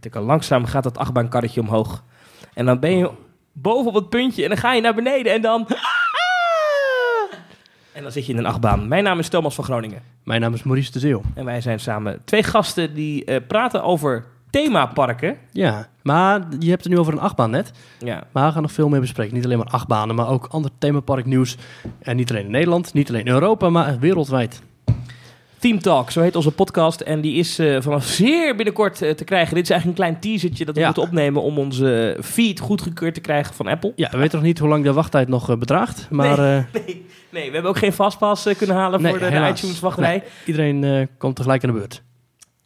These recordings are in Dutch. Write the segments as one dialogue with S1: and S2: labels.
S1: tikken. Langzaam gaat dat achtbaankarretje omhoog. En dan ben je boven op het puntje en dan ga je naar beneden en dan... En dan zit je in een achtbaan. Mijn naam is Thomas van Groningen.
S2: Mijn naam is Maurice de Zeeuw.
S1: En wij zijn samen twee gasten die eh, praten over themaparken.
S2: Ja, maar je hebt het nu over een achtbaan net.
S1: Ja,
S2: Maar we gaan nog veel meer bespreken. Niet alleen maar achtbanen, maar ook ander themaparknieuws. En niet alleen in Nederland, niet alleen in Europa, maar wereldwijd.
S1: Team Talk, zo heet onze podcast. En die is eh, vanaf zeer binnenkort eh, te krijgen. Dit is eigenlijk een klein teasertje dat we
S2: Ja.
S1: moeten opnemen om onze feed goedgekeurd te krijgen van Apple.
S2: Ja, we weten nog niet hoe lang de wachttijd nog eh, bedraagt. Maar eh,
S1: Nee, nee, we hebben ook geen fastpass eh, kunnen halen
S2: Nee,
S1: voor de, de
S2: helaas.
S1: iTunes-wachtrij.
S2: iedereen eh, komt tegelijk aan de beurt.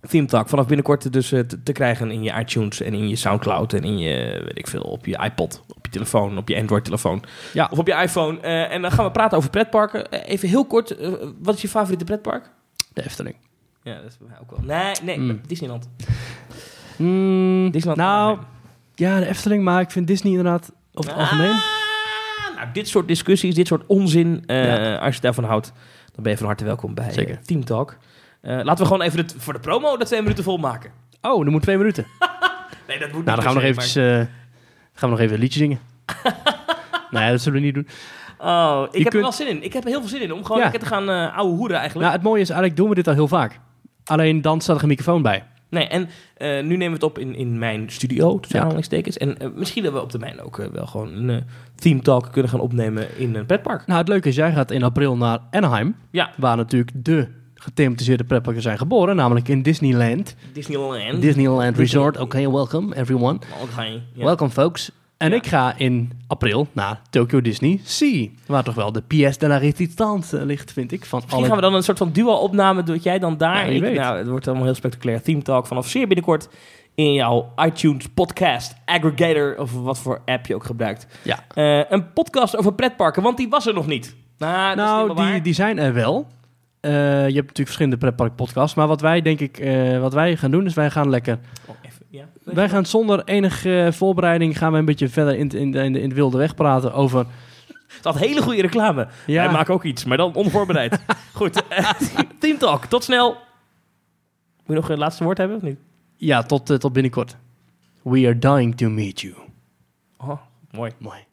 S1: Theme Talk, vanaf binnenkort dus eh, te, te krijgen in je iTunes en in je Soundcloud en in je, weet ik veel, op je iPod, op je telefoon, op je Android-telefoon.
S2: Ja.
S1: Of op je iPhone. Eh, en dan gaan we praten over pretparken. Eh, even heel kort, eh, wat is je favoriete pretpark?
S2: De Efteling.
S1: Ja, dat is bij mij ook wel. Nee, nee,
S2: Mm.
S1: Disneyland.
S2: Mm,
S1: Disneyland
S2: nou,
S1: Anaheim.
S2: ja, de Efteling, maar ik vind Disney inderdaad over het algemeen.
S1: Ah, nou, dit soort discussies, dit soort onzin, eh, als je daarvan houdt, dan ben je van harte welkom bij
S2: Zeker.
S1: eh, Team Talk. Eh, laten we gewoon even het, voor de promo dat twee minuten volmaken.
S2: Oh, er moet twee minuten.
S1: Nee, dat moet niet
S2: Nou, dan gaan we nog
S1: per
S2: eventjes,
S1: se,
S2: eh, gaan we nog even een liedje zingen. nee, dat zullen we niet doen.
S1: maar- Oh, ik
S2: Je
S1: heb
S2: kunt-
S1: er wel zin in. Ik heb er heel veel zin in om gewoon
S2: Ja.
S1: lekker te gaan eh ouwe hoeren eigenlijk.
S2: Nou, het mooie is, eigenlijk doen we dit al heel vaak. Alleen dan staat er een microfoon bij.
S1: Nee, en eh, nu nemen we het op in, in mijn studio, tussen
S2: Ja.
S1: aanhalingstekens. En eh, misschien dat we op termijn ook eh, wel gewoon een eh, Team Talk kunnen gaan opnemen in een petpark.
S2: Nou, het leuke is, jij gaat in april naar Anaheim.
S1: Ja.
S2: Waar natuurlijk de gethematiseerde pretparken zijn geboren. Namelijk in Disneyland.
S1: Disneyland.
S2: Disneyland Resort. Oké, welcome everyone.
S1: Oké, ja.
S2: Welcome folks. En
S1: Ja.
S2: ik ga in april naar Tokyo Disney Sea. Waar toch wel de pièce de la résistance eh, ligt, vind ik. Van
S1: Misschien
S2: alle...
S1: gaan we dan een soort van duo-opname doen. dat Jij dan daar.
S2: Ja, wie
S1: en ik-
S2: weet.
S1: nou, het wordt allemaal heel spectaculair. Theme Talk vanaf zeer binnenkort in jouw iTunes podcast aggregator. Of wat voor app je ook gebruikt.
S2: Ja.
S1: Eh, een podcast over pretparken, want die was er nog niet. Nou, dat is
S2: nou,
S1: niet helemaal
S2: die,
S1: waar.
S2: die zijn er wel. Eh, je hebt natuurlijk verschillende pretparkpodcasts. Maar wat wij, denk ik, eh, wat wij gaan doen, is wij gaan lekker
S1: Oh, even, ja.
S2: Wij gaan zonder enige eh, voorbereiding gaan we een beetje verder in, in, in, in het wilde weg praten over...
S1: Dat had hele goede reclame.
S2: Ja,
S1: Wij maken ook iets, maar dan onvoorbereid. Goed, eh, Team Talk, tot snel. Moet je nog het laatste woord hebben of niet?
S2: ja tot, eh, tot binnenkort. We are dying to meet you.
S1: Oh, mooi.
S2: Mooi.